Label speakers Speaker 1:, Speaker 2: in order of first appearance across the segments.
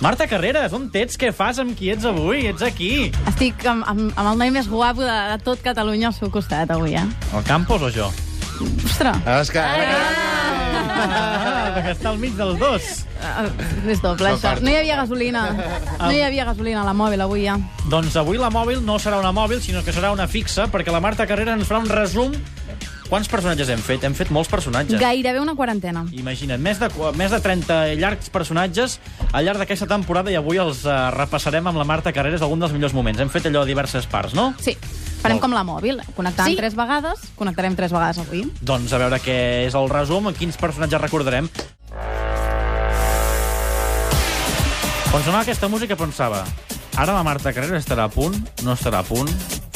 Speaker 1: Marta Carreras, on t'ets? Què fas? Amb qui ets avui? Ets aquí.
Speaker 2: Estic amb, amb, amb el noi més guapo de, de tot Catalunya al seu costat, avui, eh?
Speaker 1: El Campos o jo?
Speaker 2: Ostres,
Speaker 3: Es que...
Speaker 1: Ah, perquè està al mig dels dos.
Speaker 2: eh, és doble, això. No hi havia gasolina. No hi havia gasolina a la mòbil, avui, ja.
Speaker 1: Doncs avui la mòbil no serà una mòbil, sinó que serà una fixa, perquè la Marta Carreras ens farà un resum. Quants personatges hem fet? Hem fet molts personatges.
Speaker 2: Gairebé una quarantena.
Speaker 1: Imagina't, més de, qu- més de 30 llargs personatges al llarg d'aquesta temporada i avui els uh, repassarem amb la Marta Carreras algun dels millors moments. Hem fet allò a diverses parts, no?
Speaker 2: Sí, farem
Speaker 1: Molt.
Speaker 2: com la mòbil. Connectàvem
Speaker 4: Sí.
Speaker 2: sí. tres vegades, connectarem tres vegades avui.
Speaker 1: Doncs a veure què és el resum, quins personatges recordarem. Quan sonava aquesta música pensava ara la Marta Carrera estarà a punt, no estarà a punt,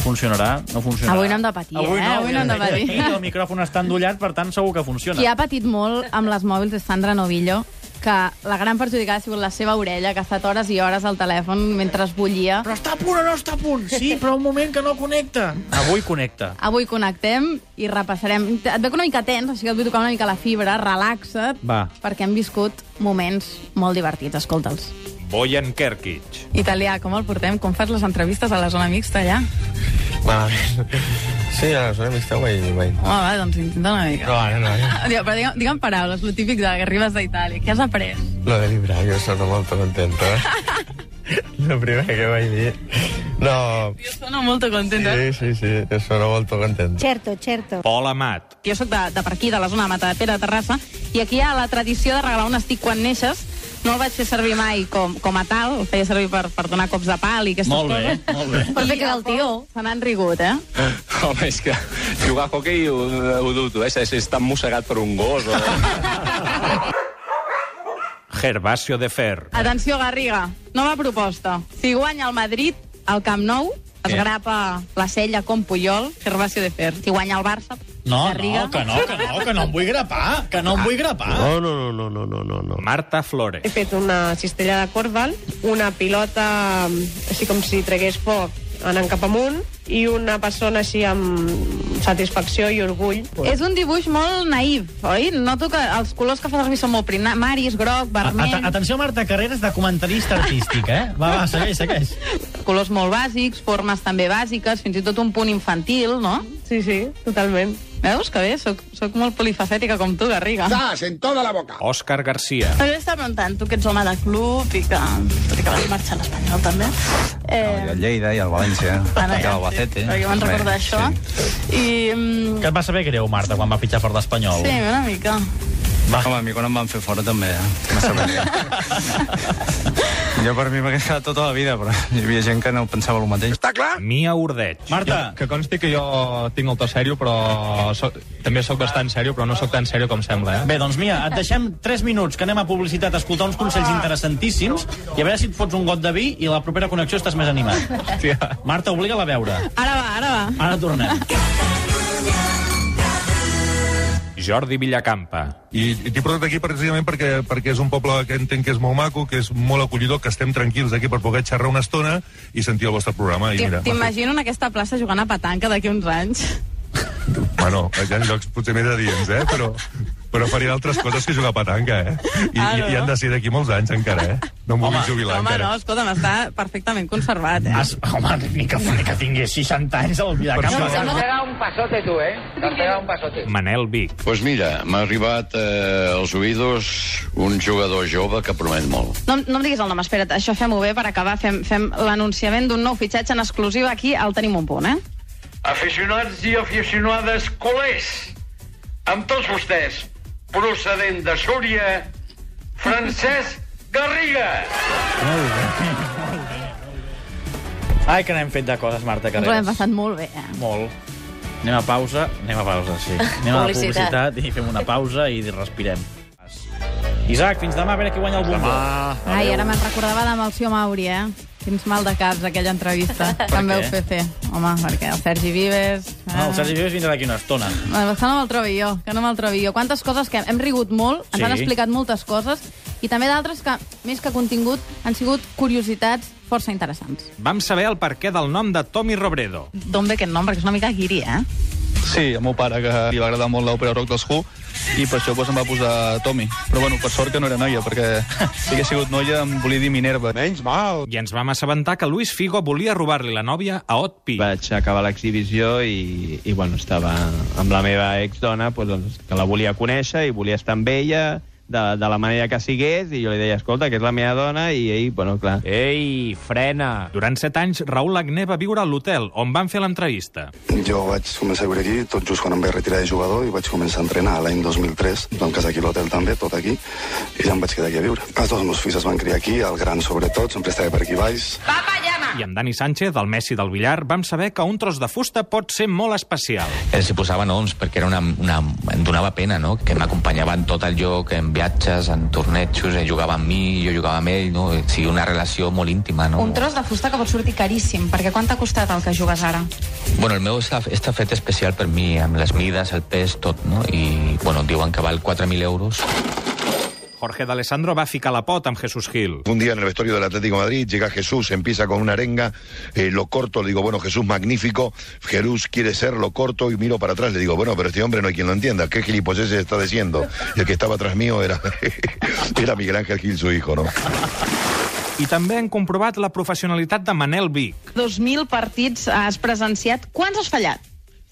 Speaker 1: funcionarà, no funcionarà.
Speaker 2: Avui no hem de patir,
Speaker 1: Avui
Speaker 2: eh?
Speaker 1: no,
Speaker 2: Avui no hem de patir.
Speaker 1: Aquí el micròfon està endollat, per tant segur que funciona.
Speaker 2: Qui ha patit molt amb les mòbils és Sandra Novillo, que la gran perjudicada ha sigut la seva orella, que ha estat hores i hores al telèfon mentre es bullia.
Speaker 1: Però està a punt o no està a punt? Sí, però un moment que no connecta. Avui connecta.
Speaker 2: Avui connectem i repassarem. Et veig una mica tens, així que et vull tocar una mica la fibra, relaxa't,
Speaker 1: Va.
Speaker 2: perquè hem viscut moments molt divertits, escolta'ls.
Speaker 5: Boyan Kerkic.
Speaker 2: Italià, com el portem? Com fas les entrevistes a la zona mixta allà?
Speaker 6: Malament. Sí, a la zona mixta guai, guai.
Speaker 2: Home, va, doncs intenta una
Speaker 6: No, ara no, ara.
Speaker 2: Diu, però digue'm, digue'm paraules, lo típic de que arribes d'Itàlia. Què has après?
Speaker 6: Lo de librar, yo sono molto contento. eh? Lo primero que vaig dir. No,
Speaker 2: Jo sono molto contenta.
Speaker 6: sí, sí, sí, yo sono molto contento.
Speaker 4: Certo, certo.
Speaker 5: Pol Amat.
Speaker 2: Jo sóc de, de per aquí, de la zona de Mata de Pere, de Terrassa, i aquí hi ha la tradició de regalar un estic quan neixes. No el vaig fer servir mai com, com a tal, el feia servir per, per donar cops de pal i aquestes
Speaker 1: Molt bé,
Speaker 2: coses.
Speaker 1: molt bé.
Speaker 4: Per fer que el tio...
Speaker 2: Se n'han rigut, eh?
Speaker 7: Home, és que jugar a hoquei ho, ho dubto, eh? Si si està mossegat per un gos o...
Speaker 5: Gervasio de Fer.
Speaker 2: Atenció, Garriga, nova proposta. Si guanya el Madrid al Camp Nou, es
Speaker 1: Què?
Speaker 2: grapa la cella com Puyol, Gervasio de Fer. Si guanya el Barça,
Speaker 1: No,
Speaker 2: Garriga...
Speaker 1: no, que no, que no, que no em vull grapar, que no em vull grapar.
Speaker 6: No, no, no, no, no, no, no, no.
Speaker 5: Marta Flores.
Speaker 8: He fet una cistella de corval, una pilota mm, així com si tregués foc anant cap amunt i una persona així amb satisfacció i orgull.
Speaker 2: És un dibuix molt naïf, oi? Noto que els colors que fa servir són molt primaris, groc, vermell...
Speaker 1: At Atenció, Marta Carreras, de comentarista artístic, eh? Va, va, segueix, segueix.
Speaker 2: colors molt bàsics, formes també bàsiques, fins i tot un punt infantil, no?
Speaker 8: Sí, sí, totalment.
Speaker 2: Veus que bé? Soc, soc molt polifacètica com tu, Garriga.
Speaker 5: Òscar Garcia.
Speaker 2: Però jo estava preguntant, tu que ets home de club i que, tot i que vas marxar a l'Espanyol també, eh,
Speaker 9: El Lleida i el València,
Speaker 2: Bueno,
Speaker 9: i
Speaker 2: ja,
Speaker 9: el Albacete.
Speaker 2: sí, perquè me'n recordo d'això. i... mm,
Speaker 1: Que et va saber greu, Marta, quan va pitjar per l'Espanyol.
Speaker 2: Sí, una mica.
Speaker 9: Va. Home, a mi quan em van fer fora també, eh? Me sabria. jo per mi m'ha quedat tota la vida, però hi havia gent que no pensava el mateix.
Speaker 5: Mia Ordeig.
Speaker 1: Marta,
Speaker 10: Que consti que jo tinc el to serio, però so, també sóc bastant serio, però no sóc tan serio com sembla, eh?
Speaker 1: bé, doncs mira, et deixem 3 minuts que anem a publicitat a escoltar uns consells interessantíssims i a veure si et fots un got de vi i la propera connexió estàs més animat.
Speaker 10: Hòstia.
Speaker 1: Marta, obliga-la a veure.
Speaker 2: Ara va, ara va.
Speaker 1: Ara tornem.
Speaker 5: Jordi Villacampa.
Speaker 11: I, i t'he portat aquí precisament perquè, perquè és un poble que entenc que és molt maco, que és molt acollidor, que estem tranquils aquí per poder xerrar una estona i sentir el vostre programa. I
Speaker 2: T'im-
Speaker 11: mira,
Speaker 2: T'imagino en aquesta plaça jugant a petanca d'aquí uns anys.
Speaker 11: Bueno, hi ha llocs potser més adients, eh? Però, però faré altres coses que jugar a petanca, eh? I,
Speaker 2: Ah,
Speaker 11: ah,
Speaker 2: no,
Speaker 11: no, i, han de ser d'aquí molts anys encara, eh? No m'ho vull jubilar
Speaker 2: Home, no,
Speaker 11: encara.
Speaker 2: escolta'm, està perfectament conservat, eh?
Speaker 1: Has, home, ni que, ni que tingués 60 anys al Villacampa.
Speaker 5: Manel Vic.
Speaker 7: Doncs pues mira, m'ha arribat eh, als oïdos un jugador jove que promet molt.
Speaker 2: No, no em diguis el nom, espera't, això fem-ho bé per acabar, fem, fem l'anunciament d'un nou fitxatge en exclusiva aquí al Tenim un punt, eh?
Speaker 7: Aficionats i aficionades colers, amb tots vostès, procedent de Súria, Francesc Garriga.
Speaker 1: Ai, que n'hem fet de coses, Marta
Speaker 2: Ens ho hem
Speaker 1: Carreras.
Speaker 2: passat molt bé, eh?
Speaker 1: Molt. Anem a pausa, anem a pausa, sí. Anem a la
Speaker 4: Publicitat.
Speaker 1: publicitat i fem una pausa i respirem. Isaac, fins demà, a veure qui guanya el bombo.
Speaker 2: Ai, ara me'n recordava de Malció Mauri, eh? Quins mal de caps, aquella entrevista. que em
Speaker 1: què?
Speaker 2: veu fer fer. Home, perquè el Sergi Vives...
Speaker 1: Ah, el Sergi Vives vindrà d'aquí una estona.
Speaker 2: Eh, Que no me'l trobi jo, que no me'l trobi jo. Quantes coses que hem rigut molt, ens
Speaker 1: Sí.
Speaker 2: han explicat moltes coses, i també d'altres que, més que contingut, han sigut curiositats força interessants.
Speaker 5: Vam saber el perquè del nom de Tommy Robredo.
Speaker 2: D'on ve aquest nom? Perquè és una mica guiri, eh?
Speaker 9: Sí, el meu pare, que li va agradar molt l'òpera rock dels Who, i per això pues, em va posar Tommy. Però bueno, per sort que no era noia, perquè si hagués sigut noia em volia dir Minerva. Menys mal!
Speaker 5: I ens vam assabentar que Luis Figo volia robar-li la nòvia a Otpi.
Speaker 6: Vaig acabar l'exhibició i, i bueno, estava amb la meva exdona, pues, doncs, que la volia conèixer i volia estar amb ella, de, de la manera que sigués, i jo li deia, escolta, que és la meva dona, i ell, bueno, clar...
Speaker 5: Ei, frena! Durant set anys, Raül Agné va viure a l'hotel on van fer l'entrevista.
Speaker 3: Jo vaig començar a viure aquí tot just quan em vaig retirar de jugador i vaig començar a entrenar l'any 2003. Vam casar doncs, aquí a l'hotel també, tot aquí, i ja em vaig quedar aquí a viure. Els dos meus fills es van criar aquí, el gran sobretot, sempre estava per aquí baix.
Speaker 5: I amb Dani Sánchez, el Messi del Villar, vam saber que un tros de fusta pot ser molt especial.
Speaker 4: Ens hi posava noms perquè era una, una, em donava pena, no? Que m'acompanyava en tot el lloc, en viatges, en tornejos, ell jugava amb mi, jo jugava amb ell, no? O sigui, una relació molt íntima, no?
Speaker 12: Un tros de fusta que pot sortir caríssim, perquè quant t'ha costat el que jugues ara?
Speaker 4: Bueno, el meu està, està fet especial per mi, amb les mides, el pes, tot, no? I, bueno, diuen que val 4.000 euros.
Speaker 5: Jorge D'Alessandro va ficar la pot amb Jesús Gil.
Speaker 13: Un día en el vestuario del Atlético de Madrid llega Jesús, empieza con una arenga, eh, lo corto, le digo, bueno, Jesús, magnífico, Jesús quiere ser, lo corto y miro para atrás, le digo, bueno, pero este hombre no hay quien lo entienda, ¿qué gilipolleces está diciendo? Y el que estaba atrás mío era, era Miguel Ángel Gil, su hijo, ¿no?
Speaker 5: I també han comprovat la professionalitat de Manel Vic.
Speaker 2: 2.000 partits has presenciat. Quants has fallat?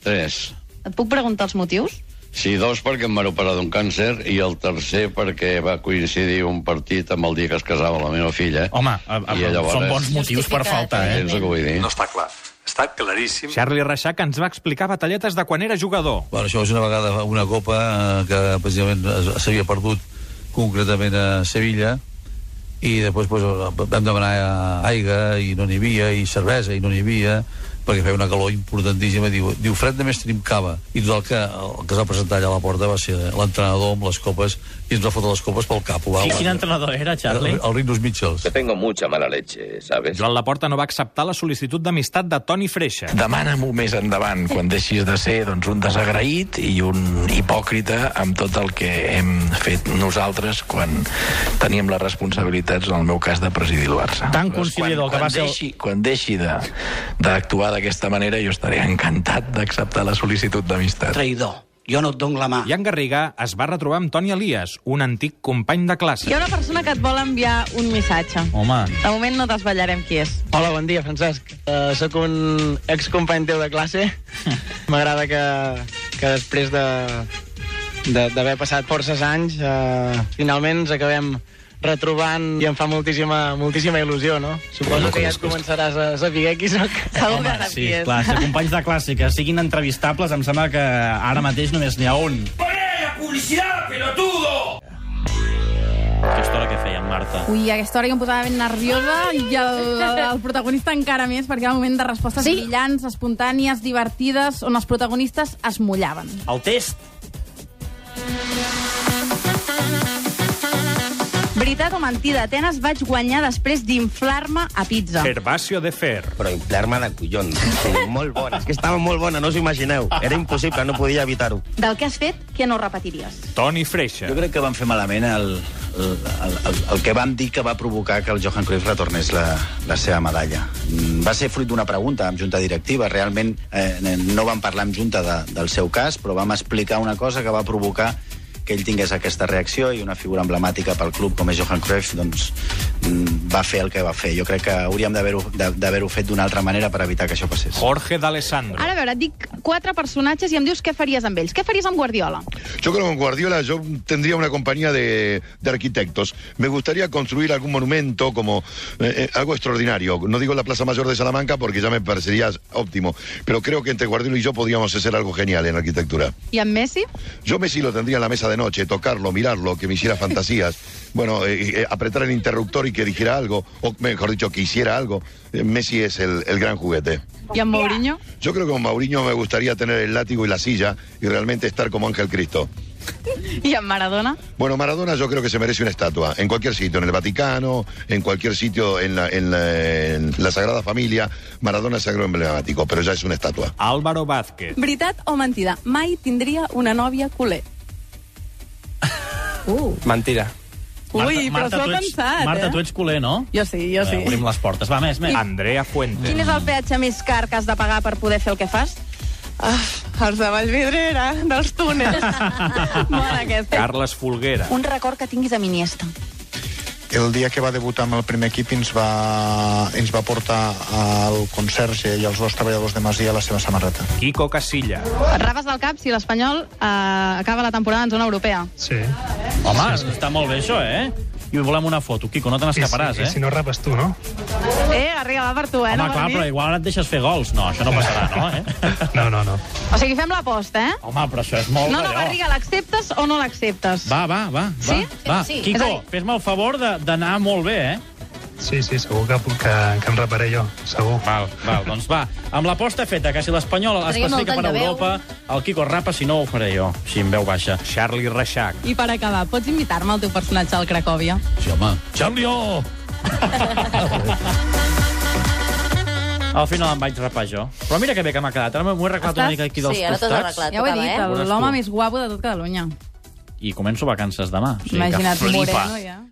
Speaker 14: Tres.
Speaker 2: Et puc preguntar els motius?
Speaker 14: Sí, dos perquè em van operar d'un càncer i el tercer perquè va coincidir un partit amb el dia que es casava la meva filla.
Speaker 1: eh?
Speaker 5: Home, a, a, són bons motius per faltar, eh?
Speaker 14: Gens el que vull dir.
Speaker 15: No està clar. Està claríssim.
Speaker 5: Charlie Reixac ens va explicar batalletes de quan era jugador.
Speaker 15: Bueno, això és una vegada una copa eh, que precisament es- s'havia perdut concretament a Sevilla i després pues, vam demanar eh, aigua i no n'hi havia i cervesa i no n'hi havia perquè feia una calor importantíssima diu, diu fred només tenim cava i total que el que es va presentar allà a la porta va ser l'entrenador amb les copes i ens va fotre les copes pel cap ho va,
Speaker 1: Qui, quin entrenador era, Charlie?
Speaker 15: el, el Rinus Mitchells
Speaker 4: Que tengo mucha mala leche, ¿sabes?
Speaker 5: Joan Laporta no va acceptar la sol·licitud d'amistat de Toni Freixa.
Speaker 16: Demana-m'ho més endavant, quan deixis de ser doncs, un desagraït i un hipòcrita amb tot el que hem fet nosaltres quan teníem les responsabilitats, en el meu cas, de presidir el Barça.
Speaker 1: Tan
Speaker 16: Aleshores,
Speaker 1: conciliador
Speaker 16: Doncs quan,
Speaker 1: que va
Speaker 16: quan
Speaker 1: ser el-
Speaker 16: Deixi, quan deixi de- d'actuar d'aquesta manera, jo estaré encantat d'acceptar la sol·licitud d'amistat.
Speaker 5: Traïdor. Jo no et dono la mà. I en Garriga es va retrobar amb Toni Elias, un antic company de classe.
Speaker 2: Hi ha una persona que et vol enviar un missatge.
Speaker 5: Home,
Speaker 2: De moment no desvetllarem qui és.
Speaker 17: Hola, bon dia, Francesc. Uh, soc un excompany teu de classe. M'agrada que, que després de de- d'haver passat forces anys, uh, finalment ens acabem retrobant i em fa moltíssima, moltíssima il·lusió, no? Suposo que ja et començaràs a saber qui sóc.
Speaker 1: Home, sí, clar, ser companys de classe que siguin entrevistables, em sembla que ara mateix només n'hi ha un.
Speaker 18: publicidad, pelotudo!
Speaker 1: Aquesta hora que feia, Marta.
Speaker 19: Ui, a aquesta hora jo em posava ben nerviosa i el, el protagonista encara més, perquè era un moment de respostes sí. brillants, espontànies, divertides, on els protagonistes es mullaven.
Speaker 1: El test.
Speaker 2: Veritat o mentida, Atenes vaig guanyar després d'inflar-me a pizza.
Speaker 5: Gervasio de Fer.
Speaker 20: Però inflar-me de collons. Sí, molt bona. És que estava molt bona, no us imagineu. Era impossible, no podia evitar-ho.
Speaker 2: Del que has fet, què no repetiries?
Speaker 5: Toni Freixa.
Speaker 9: Jo crec que van fer malament el, el, el, el, el que vam dir que va provocar que el Johan Cruyff retornés la, la seva medalla. Mm, Va ser fruit d'una pregunta amb junta directiva. Realment eh, no vam parlar amb junta de, del seu cas, però vam explicar una cosa que va provocar que ell tingués aquesta reacció i una figura emblemàtica pel club com és Johan Cruyff doncs, mm, va fer el que va fer. Jo crec que hauríem d'haver-ho de- d'haver-ho fet d'una altra manera per evitar que això passés.
Speaker 5: Jorge D'Alessandro.
Speaker 2: Ara, a veure, et dic quatre personatges i em dius què faries amb ells. Què faries amb Guardiola?
Speaker 13: Yo creo que con Guardiola yo tendría una compañía de, de arquitectos. Me gustaría construir algún monumento como eh, eh, algo extraordinario. No digo la Plaza Mayor de Salamanca porque ya me parecería óptimo, pero creo que entre Guardiola y yo podíamos hacer algo genial en arquitectura.
Speaker 2: I amb Messi?
Speaker 13: Yo Messi lo tendría en la mesa de noche, tocarlo, mirarlo, que me hiciera fantasías. Bueno, eh, eh, apretar el interruptor y que dijera algo, o mejor dicho, que hiciera algo. Eh, Messi es el- el gran juguete.
Speaker 2: I amb Mourinho?
Speaker 13: Yo creo que con Mauriño me gustaría tener el látigo y la silla y realmente estar como Ángel Cristo.
Speaker 2: I amb Maradona?
Speaker 13: Bueno, Maradona yo creo que se merece una estatua, en cualquier sitio, en el Vaticano, en cualquier sitio, en la, eh. en la- en la Sagrada Familia. Maradona es algo emblemático, pero ya es una estatua.
Speaker 5: Álvaro Vázquez.
Speaker 19: Veritat o mentida, mai tindria una nòvia culer. Uh.
Speaker 1: Mentira.
Speaker 19: Ui, però s'ho ha
Speaker 1: tu ets-
Speaker 19: pensat,
Speaker 1: Marta,
Speaker 19: eh?
Speaker 1: tu ets culer, no?
Speaker 19: Jo sí, jo sí.
Speaker 1: Eh, obrim les portes. Va, més, més.
Speaker 5: Andrea Fuentes.
Speaker 2: Quin és el peatge més car que has de pagar per poder fer el que fas?
Speaker 21: Ah, els de Vallvidrera, dels túnels. Bona aquesta.
Speaker 5: Carles Folguera.
Speaker 22: Un record que tinguis amb Iniesta.
Speaker 9: el dia que va debutar amb el primer equip ens va, ens va portar al conserge i als dos treballadors de Masia a la seva samarreta.
Speaker 5: Quico Casilla.
Speaker 2: Et rapes del cap si l'Espanyol eh, acaba la temporada en zona europea.
Speaker 1: Sí. Home, sí, sí. està molt bé això, eh? I volem una foto. Quico, no te n'escaparàs, eh?
Speaker 13: I, si, I si no rapes tu, no?
Speaker 2: Eh, arriba, va per
Speaker 19: Ah,
Speaker 2: tu, eh?
Speaker 1: Home,
Speaker 2: no
Speaker 1: clar,
Speaker 2: per mi.
Speaker 1: però igual et deixes fer gols. No, això no passarà, no, eh?
Speaker 13: No, no, no.
Speaker 2: O sigui, fem l'aposta, eh?
Speaker 1: Home, però això és molt
Speaker 2: no, no,
Speaker 1: d'allò.
Speaker 2: Garriga, l'acceptes o no l'acceptes?
Speaker 1: Va, va, va. va,
Speaker 2: Sí?
Speaker 1: va.
Speaker 2: Sí. És a
Speaker 1: Quico,
Speaker 2: dir-
Speaker 1: fes-me el favor de- d'anar molt bé, eh?
Speaker 13: Sí, sí, segur que, puc- que, que em reparé jo, segur.
Speaker 1: Val, val, doncs va. Amb l'aposta feta, que si l'Espanyol es
Speaker 12: Traiem el
Speaker 1: classifica
Speaker 12: tall
Speaker 1: per
Speaker 12: de veu.
Speaker 1: Europa, el Quico es rapa, si no ho faré jo, si em veu baixa.
Speaker 5: Charlie Reixac.
Speaker 2: I per acabar, pots invitar-me al teu personatge al Cracòvia?
Speaker 23: Sí, home.
Speaker 1: Charlie O! Al final em vaig rapar jo. Però mira que bé que m'ha quedat. Ara m'ho he arreglat una
Speaker 24: Estàs-
Speaker 1: mica aquí dels
Speaker 24: sí,
Speaker 12: ara t'has
Speaker 1: costats.
Speaker 12: arreglat.
Speaker 24: Ja ho he
Speaker 12: tocava, eh?
Speaker 24: dit,
Speaker 1: Veuràs
Speaker 24: l'home
Speaker 1: tu.
Speaker 24: més guapo de tot Catalunya.
Speaker 1: I començo vacances demà. O sigui que
Speaker 24: Imagina't,
Speaker 1: flipa.
Speaker 24: moreno, ja.